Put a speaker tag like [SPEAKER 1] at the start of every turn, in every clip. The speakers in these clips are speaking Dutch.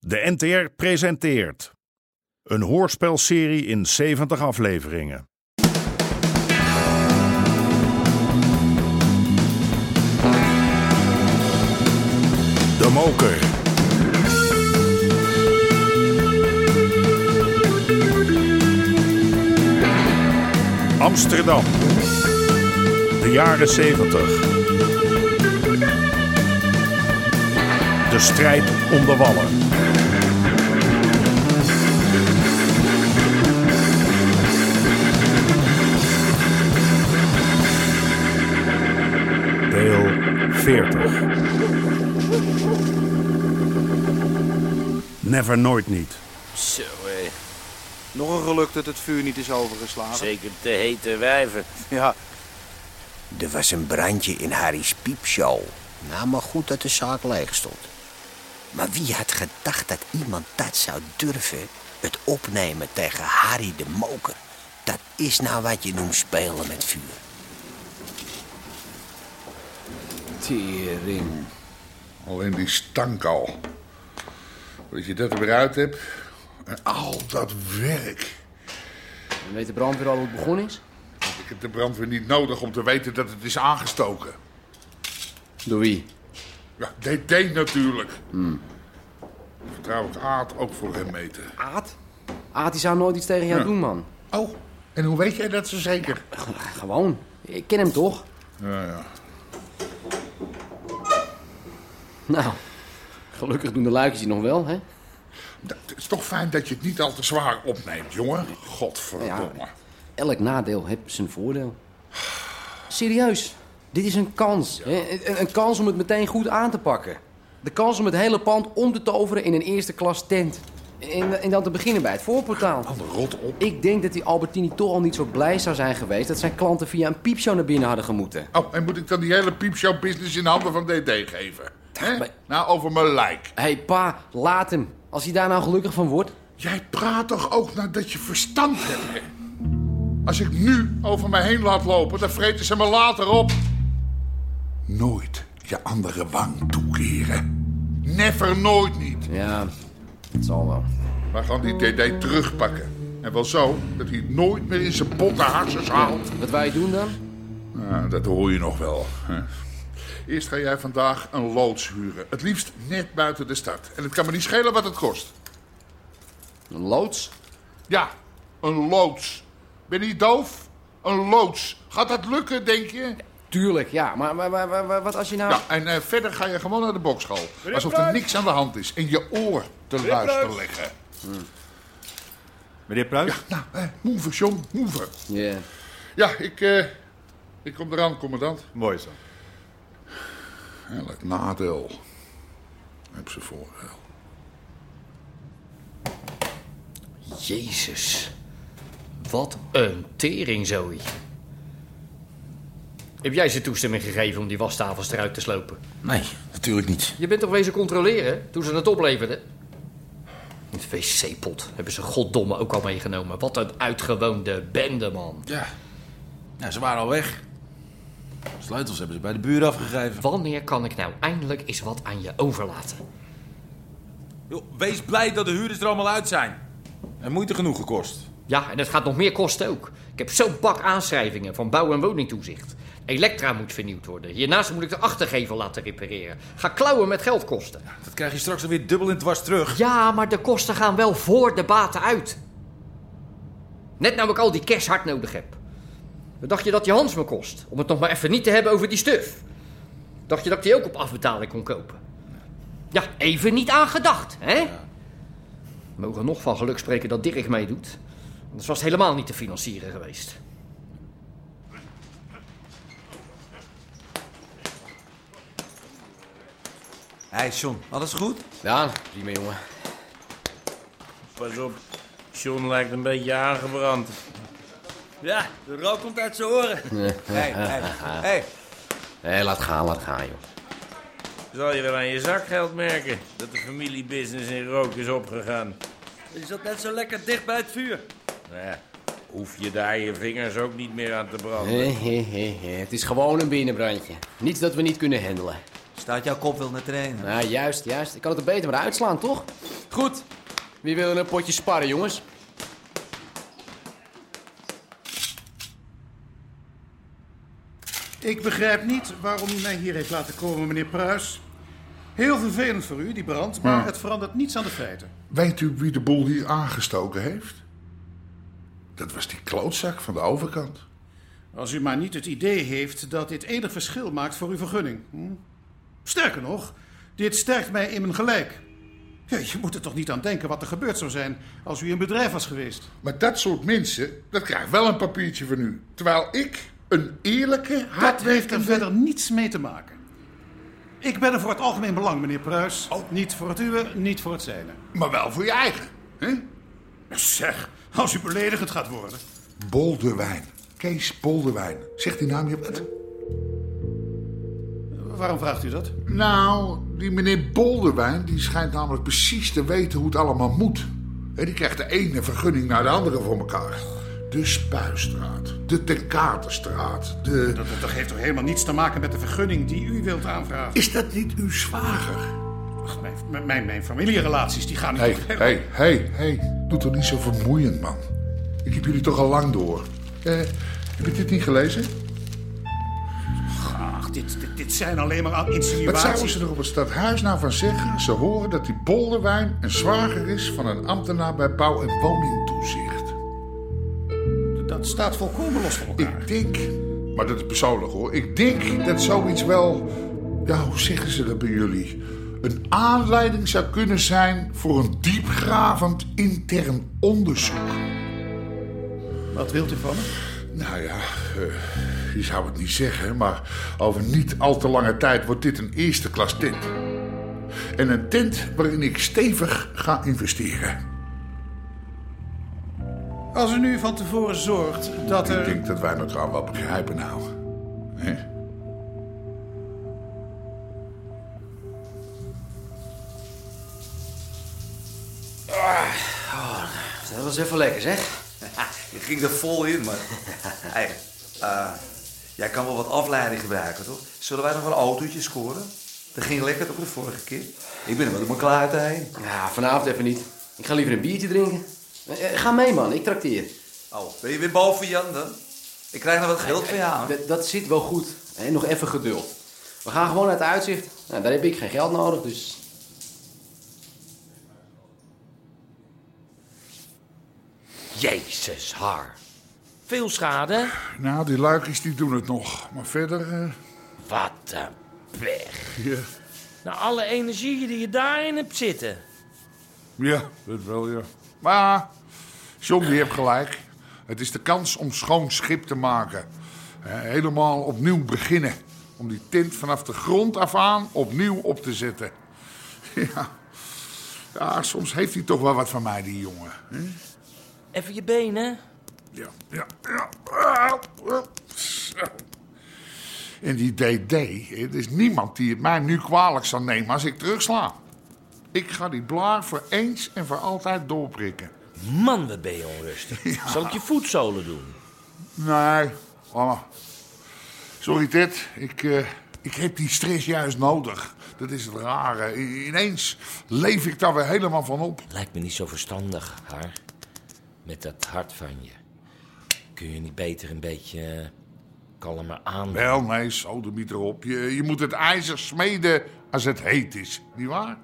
[SPEAKER 1] De NTR presenteert een hoorspelserie in 70 afleveringen. De Moker. Amsterdam. De jaren 70. De strijd om de wallen. Deel 40. Never nooit niet.
[SPEAKER 2] Zo hé,
[SPEAKER 3] Nog een geluk dat het vuur niet is overgeslagen.
[SPEAKER 2] zeker te hete wijven.
[SPEAKER 3] Ja,
[SPEAKER 4] Er was een brandje in Harry's piepshow. Nou, maar goed dat de zaak leeg stond. Maar wie had gedacht dat iemand dat zou durven? Het opnemen tegen Harry de Moker. Dat is nou wat je noemt spelen met vuur.
[SPEAKER 2] Tering.
[SPEAKER 5] Alleen die stank al. Dat je dat er weer uit hebt. En al dat werk.
[SPEAKER 2] En weet de brandweer al hoe het begonnen is?
[SPEAKER 5] Ik heb de brandweer niet nodig om te weten dat het is aangestoken.
[SPEAKER 2] Door wie?
[SPEAKER 5] Ja, DD natuurlijk.
[SPEAKER 2] Hmm.
[SPEAKER 5] Vertrouw ik Aad ook voor hem meten.
[SPEAKER 2] Aad? Aad die zou nooit iets tegen jou
[SPEAKER 5] Ja.
[SPEAKER 2] doen, man.
[SPEAKER 5] Oh, en hoe weet jij dat zo zeker?
[SPEAKER 2] Gewoon. Ik ken hem toch?
[SPEAKER 5] Ja, ja.
[SPEAKER 2] Nou, gelukkig doen de luikjes het nog wel, hè?
[SPEAKER 5] Dat is toch fijn dat je het niet al te zwaar opneemt, jongen. Godverdomme.
[SPEAKER 2] Ja. Elk nadeel heeft zijn voordeel. Serieus, dit is een kans. hè? Een, een kans om het meteen goed aan te pakken. De kans om het hele pand om te toveren in een eerste klas tent. En, en dan te beginnen bij het voorportaal.
[SPEAKER 5] Oh, Rot op.
[SPEAKER 2] Ik denk dat die Albertini toch al niet zo blij zou zijn geweest dat zijn klanten via een piepshow naar binnen hadden gemoeten.
[SPEAKER 5] Oh, en moet ik dan die hele piepshow-business in handen van DD geven? Hè?
[SPEAKER 2] maar-
[SPEAKER 5] Nou, over mijn lijk.
[SPEAKER 2] Hé hey, pa, laat hem. Als hij daar nou gelukkig van wordt.
[SPEAKER 5] Jij praat toch ook nadat je verstand hebt, hè? Als ik nu over mij heen laat lopen, dan vreten ze me later op. Nooit je andere wang toekeren. Never, nooit niet.
[SPEAKER 2] Ja, het zal wel.
[SPEAKER 5] We gaan die DD terugpakken. En wel zo dat hij het nooit meer in zijn potten harsjes haalt.
[SPEAKER 2] Wat wij doen dan?
[SPEAKER 5] Nou, dat hoor je nog wel. hè. Eerst ga jij vandaag een loods huren. Het liefst net buiten de stad. En het kan me niet schelen wat het kost.
[SPEAKER 2] Een loods?
[SPEAKER 5] Ja, een loods. Ben je niet doof? Een loods. Gaat dat lukken, denk je?
[SPEAKER 2] Tuurlijk, ja. Maar, maar, maar- maar- maar wat als je nou...
[SPEAKER 5] Ja, en eh, verder ga je gewoon naar de bokschool. Alsof er niks aan de hand is. En je oor te luisteren leggen.
[SPEAKER 6] Meneer Pruis?
[SPEAKER 5] Nou, eh, move, John, move.
[SPEAKER 2] Ja.
[SPEAKER 5] Ja, ik, eh, ik kom eraan, commandant.
[SPEAKER 6] Mooi zo.
[SPEAKER 5] Elk nadeel heb ze voordeel.
[SPEAKER 7] Jezus. Wat een tering, Zoe. Heb jij ze toestemming gegeven om die wastafels eruit te slopen?
[SPEAKER 4] Nee, natuurlijk niet.
[SPEAKER 7] Je bent toch wezen controleren toen ze het opleverden? Het wc-pot hebben ze goddomme ook al meegenomen. Wat een uitgewoonde bende, man.
[SPEAKER 8] Ja. ja, ze waren al weg. Sleutels hebben ze bij de buren afgegeven.
[SPEAKER 7] Wanneer kan ik nou eindelijk eens wat aan je overlaten?
[SPEAKER 8] Joh, wees blij dat de huurders er allemaal uit zijn. En moeite genoeg gekost.
[SPEAKER 7] Ja, en het gaat nog meer kosten ook. Ik heb zo'n bak aanschrijvingen van bouw- en woningtoezicht. Elektra moet vernieuwd worden. Hiernaast moet ik de achtergevel laten repareren. Ga klauwen met geld kosten.
[SPEAKER 8] Dat krijg je straks alweer dubbel in dwars terug.
[SPEAKER 7] Ja, maar de kosten gaan wel voor de baten uit. Net nou ik al die cash hard nodig heb. Dan dacht je dat die Hans me kost? Om het nog maar even niet te hebben over die stuf. Dacht je dat ik die ook op afbetaling kon kopen? Ja, even niet aan gedacht, hè? We mogen nog van geluk spreken dat Dirk meedoet. Anders was het helemaal niet te financieren geweest.
[SPEAKER 8] Hé, John, alles goed?
[SPEAKER 2] Ja, prima jongen.
[SPEAKER 9] Pas op, John lijkt een beetje aangebrand.
[SPEAKER 8] Ja, de rook komt uit zijn oren. Hé, hé, hé.
[SPEAKER 2] Hé, laat gaan, laat gaan joh.
[SPEAKER 9] Zal je wel aan je zakgeld merken dat de familiebusiness in rook is opgegaan.
[SPEAKER 8] Je zat net zo lekker dicht bij het vuur.
[SPEAKER 9] Nou ja, hoef je daar je vingers ook niet meer aan te branden.
[SPEAKER 2] Hé, hé, hé, hé. Het is gewoon een binnenbrandje. Niets dat we niet kunnen handelen.
[SPEAKER 6] Staat jouw kop wel naar trainen?
[SPEAKER 2] Nou, juist, juist. Ik kan het er beter maar uitslaan, toch? Goed. Wie wil er een potje sparren, jongens?
[SPEAKER 10] Ik begrijp niet waarom u mij hier heeft laten komen, meneer Pruis. Heel vervelend voor u, die brand, maar
[SPEAKER 5] Ja.
[SPEAKER 10] het verandert niets aan de feiten.
[SPEAKER 5] Weet u wie de boel hier aangestoken heeft? Dat was die klootzak van de overkant.
[SPEAKER 10] Als u maar niet het idee heeft dat dit enig verschil maakt voor uw vergunning. Hm? Sterker nog, dit sterkt mij in mijn gelijk. Ja, je moet er toch niet aan denken wat er gebeurd zou zijn als u een bedrijf was geweest.
[SPEAKER 5] Maar dat soort mensen, dat krijgt wel een papiertje van u. Terwijl ik een eerlijke,
[SPEAKER 10] Dat heeft er
[SPEAKER 5] hardwerkende...
[SPEAKER 10] verder niets mee te maken. Ik ben er voor het algemeen belang, meneer Pruis. Niet voor het uwe, niet voor het zijne.
[SPEAKER 5] Maar wel voor je eigen. Hè?
[SPEAKER 10] Zeg, als u beledigend gaat worden.
[SPEAKER 5] Boldewijn. Kees Boldewijn. Zegt die naam je wat?
[SPEAKER 10] Waarom vraagt u dat?
[SPEAKER 5] Nou, die meneer Boldewijn die schijnt namelijk precies te weten hoe het allemaal moet. Hè, Die krijgt de ene vergunning naar de andere voor elkaar. De Spuistraat, de Tekaterstraat, de...
[SPEAKER 10] Dat, dat heeft toch helemaal niets te maken met de vergunning die u wilt aanvragen?
[SPEAKER 5] Is dat niet uw zwager?
[SPEAKER 10] Ach, mijn, mijn- mijn, mijn familierelaties die gaan niet...
[SPEAKER 5] Hé, hé, hé, hé. Doe toch niet zo vermoeiend, man. Ik heb jullie toch al lang door. Eh, heb je dit niet gelezen?
[SPEAKER 10] Ach, dit, dit, dit zijn alleen maar aan
[SPEAKER 5] Wat zouden
[SPEAKER 10] insinuaties.
[SPEAKER 5] ze er op het stadhuis nou van zeggen? Ze horen dat die Boldewijn een zwager is van een ambtenaar bij bouw- en woningtoezicht.
[SPEAKER 10] Dat staat volkomen los van elkaar.
[SPEAKER 5] Ik denk, maar dat is persoonlijk hoor, ik denk dat zoiets wel, ja hoe zeggen ze dat bij jullie? Een aanleiding zou kunnen zijn voor een diepgravend intern onderzoek.
[SPEAKER 10] Wat wilt u van me?
[SPEAKER 5] Nou ja, eh, je zou het niet zeggen, maar over niet al te lange tijd wordt dit een eerste klas tent. En een tent waarin ik stevig ga investeren.
[SPEAKER 10] Als u nu van tevoren zorgt dat
[SPEAKER 5] Ik
[SPEAKER 10] er...
[SPEAKER 5] denk dat wij elkaar wel begrijpen nou. Hè?
[SPEAKER 2] Dat was even lekker, zeg.
[SPEAKER 6] Je ging er vol in, maar. hey, eh, jij kan wel wat afleiding gebruiken, toch? Zullen wij nog een autootje scoren? Dat ging lekker toch de vorige keer? Ik ben er wel door mijn klaarte heen.
[SPEAKER 2] Ja, vanavond even niet. Ik ga liever een biertje drinken. Eh, eh, ga mee, man. Ik trakteer.
[SPEAKER 6] Oh, ben je weer boven Jan dan? Ik krijg nog wat geld van jou.
[SPEAKER 2] Dat, dat zit wel goed. Hè, nog even geduld. We gaan gewoon naar het uitzicht. Nou, daar heb ik geen geld nodig, dus...
[SPEAKER 9] Jezus, haar. Veel schade?
[SPEAKER 5] Nou, die luikjes die doen het nog. Maar verder, eh,
[SPEAKER 9] Wat een pech.
[SPEAKER 5] ja.
[SPEAKER 9] Na alle energie die je daarin hebt zitten.
[SPEAKER 5] Ja, dat wel, ja. Maar John, die heeft gelijk. Het is de kans om schoon schip te maken. Eh, Helemaal opnieuw beginnen. Om die tent vanaf de grond af aan opnieuw op te zetten. Ja, ja soms heeft hij toch wel wat van mij, die jongen. hè?
[SPEAKER 9] Even je benen.
[SPEAKER 5] Ja, ja, ja. Ah, ah, zo. En die DD, hè, er is niemand die het mij nu kwalijk zal nemen als ik terugsla. Ik ga die blaar voor eens en voor altijd doorprikken.
[SPEAKER 9] Man, wat ben je onrustig. Zal ik je voetzolen doen?
[SPEAKER 5] Nee, mama. Sorry, Ted. Ik, eh, ik heb die stress juist nodig. Dat is het rare. I- ineens leef ik daar weer helemaal van op.
[SPEAKER 9] Lijkt me niet zo verstandig, haar. Met dat hart van je. Kun je niet beter een beetje eh, kalmer aan?
[SPEAKER 5] Wel, nee, sodemiet erop. Je, je moet het ijzer smeden als het heet is. Niet waar?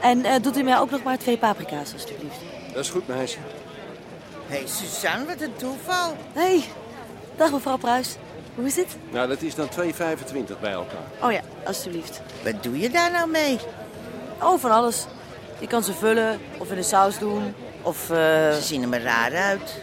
[SPEAKER 11] En eh, doet u mij ook nog maar twee paprika's, alstublieft.
[SPEAKER 2] Dat is goed, meisje.
[SPEAKER 12] Hé, hey, Suzanne, wat een toeval.
[SPEAKER 11] Hey, dag mevrouw Pruis. Hoe is het?
[SPEAKER 2] Nou, dat is dan 2,25 bij elkaar.
[SPEAKER 11] Oh ja, alstublieft.
[SPEAKER 12] Wat doe je daar nou mee?
[SPEAKER 11] Oh, van alles. Je kan ze vullen, of in een saus doen, of... eh,
[SPEAKER 12] Ze zien er maar raar uit.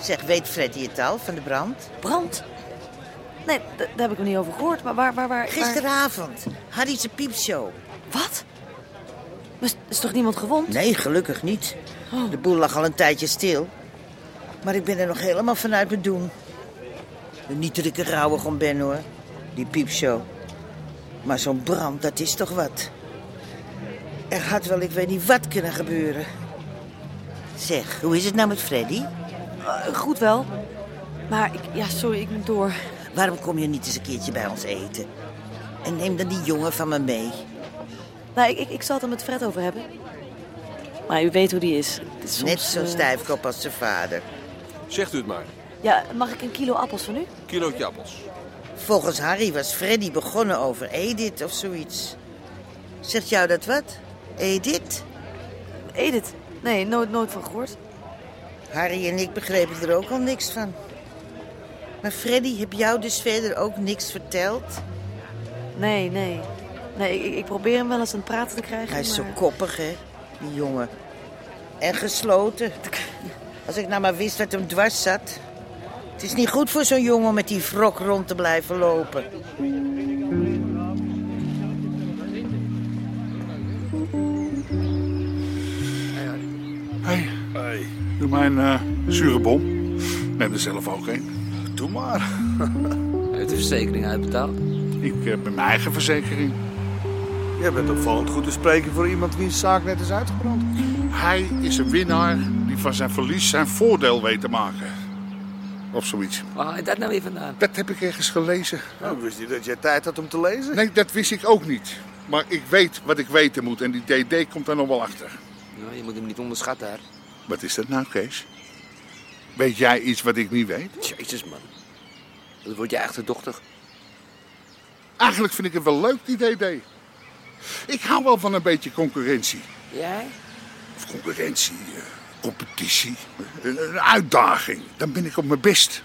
[SPEAKER 12] Zeg, weet Freddy het al van de brand?
[SPEAKER 11] brand. Nee, d- daar heb ik nog niet over gehoord, maar waar... waar, waar waar-
[SPEAKER 12] Gisteravond, Harry's piepshow.
[SPEAKER 11] Wat? Maar is- is toch niemand gewond?
[SPEAKER 12] Nee, gelukkig niet.
[SPEAKER 11] Oh.
[SPEAKER 12] De boel lag al een tijdje stil. Maar ik ben er nog helemaal vanuit mijn doen. Niet dat ik er rouwig om ben hoor, die piepshow. Maar zo'n brand, dat is toch wat. Er had wel ik weet niet wat kunnen gebeuren. Zeg, hoe is het nou met Freddy?
[SPEAKER 11] goed wel. Maar ik, ja, sorry, ik moet door.
[SPEAKER 12] Waarom kom je niet eens een keertje bij ons eten? En neem dan die jongen van me mee.
[SPEAKER 11] Nou, ik, ik, ik zal het er met Fred over hebben. Maar u weet hoe die is.
[SPEAKER 12] Net
[SPEAKER 11] soms,
[SPEAKER 12] zo
[SPEAKER 11] eh,
[SPEAKER 12] stijfkop als zijn vader.
[SPEAKER 13] Zegt u het maar.
[SPEAKER 11] Ja, mag ik een kilo appels van u?
[SPEAKER 13] Kilootje appels.
[SPEAKER 12] Volgens Harry was Freddy begonnen over Edith of zoiets. Zegt jou dat wat? Edith?
[SPEAKER 11] Edith? Nee, nooit, nooit van gehoord.
[SPEAKER 12] Harry en ik begrepen er ook al niks van. Maar Freddy, heb jou dus verder ook niks verteld?
[SPEAKER 11] Nee, nee. Nee, ik, ik probeer hem wel eens aan het praten te krijgen.
[SPEAKER 12] Hij is zo
[SPEAKER 11] maar-
[SPEAKER 12] koppig, hè, die jongen. En gesloten. Als ik nou maar wist wat hem dwars zat. Het is niet goed voor zo'n jongen om met die wrok rond te blijven lopen.
[SPEAKER 5] Hey. Doe mij een eh, zure bom. Neem er zelf ook een. Doe maar.
[SPEAKER 13] Heeft de verzekering uitbetaald?
[SPEAKER 5] Ik heb mijn eigen verzekering.
[SPEAKER 3] Jij bent opvallend goed te spreken voor iemand wiens zaak net is uitgebrand.
[SPEAKER 5] Hij is een winnaar die van zijn verlies zijn voordeel weet te maken. Of zoiets.
[SPEAKER 13] Waar is dat nou weer vandaan?
[SPEAKER 5] Dat heb ik ergens gelezen.
[SPEAKER 3] Nou, ik wist niet dat jij tijd had om te lezen.
[SPEAKER 5] Nee, dat wist ik ook niet. Maar ik weet wat ik weten moet en die DD komt daar nog wel achter.
[SPEAKER 13] Nou, je moet hem niet onderschatten, hè.
[SPEAKER 5] Wat is dat nou, Kees? Weet jij iets wat ik niet weet?
[SPEAKER 13] Jezus, man. Dan word je achterdochtig.
[SPEAKER 5] Eigenlijk vind ik het wel leuk, die DD. Ik hou wel van een beetje concurrentie.
[SPEAKER 13] Jij?
[SPEAKER 5] Of concurrentie, eh, competitie, een, een uitdaging. Dan ben ik op mijn best.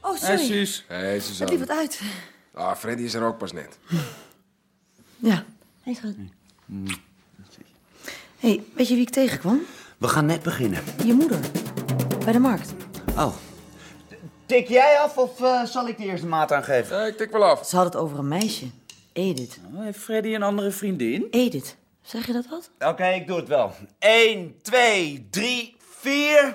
[SPEAKER 11] Oh, sorry.
[SPEAKER 13] Hey,
[SPEAKER 11] Het liep wat uit.
[SPEAKER 13] Ah, Freddy is er ook pas net.
[SPEAKER 11] Ja. Hé, schat. hey, weet je wie ik tegenkwam?
[SPEAKER 14] We gaan net beginnen.
[SPEAKER 11] Je moeder. Bij de markt.
[SPEAKER 14] Oh. Tik jij af of eh, zal ik de eerste maat aangeven? ik tik wel af.
[SPEAKER 11] Ze had het over een meisje. Edith.
[SPEAKER 14] heeft Freddy een andere vriendin?
[SPEAKER 11] Edith. Zeg je dat wat?
[SPEAKER 14] Oké, ik doe het wel. 1, 2, 3, 4.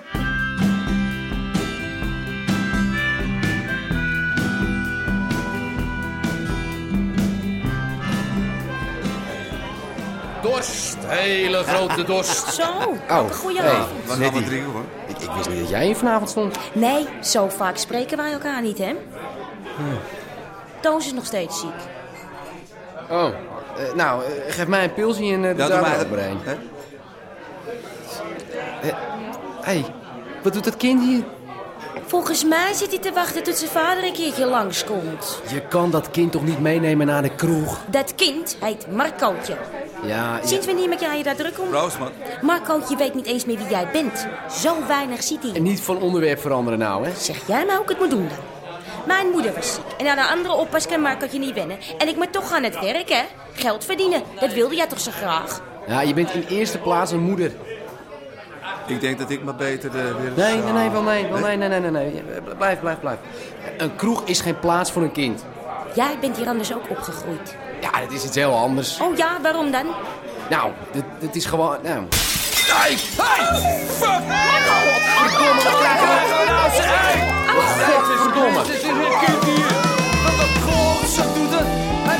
[SPEAKER 7] Dorst, hele grote dorst.
[SPEAKER 15] Zo,
[SPEAKER 7] Oh,
[SPEAKER 15] wat een goede
[SPEAKER 7] hey,
[SPEAKER 15] avond.
[SPEAKER 7] wat gaan we drinken hoor? Ik, ik wist niet dat jij hier vanavond stond.
[SPEAKER 15] Nee, zo vaak spreken wij elkaar niet, hè? Toos is nog steeds ziek.
[SPEAKER 2] Oh, eh, nou, eh, geef mij een pilsje en eh
[SPEAKER 6] Ja,
[SPEAKER 2] doe
[SPEAKER 6] doe
[SPEAKER 2] daar
[SPEAKER 6] mij
[SPEAKER 2] maar
[SPEAKER 6] dat-
[SPEAKER 2] ook maar een. Eh, hey, wat doet dat kind hier?
[SPEAKER 15] Volgens mij zit hij te wachten tot zijn vader een keertje langskomt.
[SPEAKER 2] Je kan dat kind toch niet meenemen naar de kroeg?
[SPEAKER 15] Dat kind heet Marcootje.
[SPEAKER 2] Ja, ja.
[SPEAKER 15] Sinds wanneer maak jij je daar druk om?
[SPEAKER 2] Proost, man.
[SPEAKER 15] Marcootje weet niet eens meer wie jij bent. Zo weinig ziet hij.
[SPEAKER 2] En niet van onderwerp veranderen nou, hè?
[SPEAKER 15] Zeg jij maar hoe ik het moet doen dan. Mijn moeder was ziek en aan een andere oppas kan Marcootje niet wennen. En ik moet toch aan het werk, hè? Geld verdienen, dat wilde jij toch zo graag?
[SPEAKER 2] Ja, je bent in eerste plaats een moeder.
[SPEAKER 6] Ik denk dat ik maar beter de... weer eens- eh,
[SPEAKER 2] Nee, nee, nee, wel nee, wel nee, nee, nee, nee, nee. Blijf, blijf, blijf. Een kroeg is geen plaats voor een kind.
[SPEAKER 15] Jij bent hier anders ook opgegroeid.
[SPEAKER 2] Ja, dat is iets heel anders.
[SPEAKER 15] Oh ja, waarom dan?
[SPEAKER 2] Nou, dit, dit is gewoon... Nou.
[SPEAKER 15] Hey! Hey! Fuck!
[SPEAKER 2] Verdomme, wat krijgen we nou? Godverdomme.
[SPEAKER 13] Het is een kind hier. Wat een godse doet het. Hé.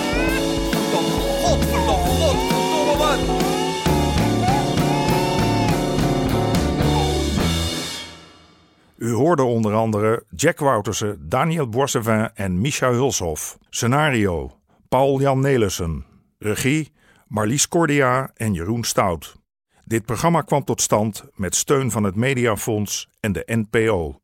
[SPEAKER 13] Verdomme, godverdomme, godverdomme, man.
[SPEAKER 1] U hoorde onder andere Jack Woutersen, Daniel Boissevin en Micha Hulshoff. Scenario: Paul-Jan Nelissen. Regie: Marlies Cordia en Jeroen Stout. Dit programma kwam tot stand met steun van het Mediafonds en de NPO.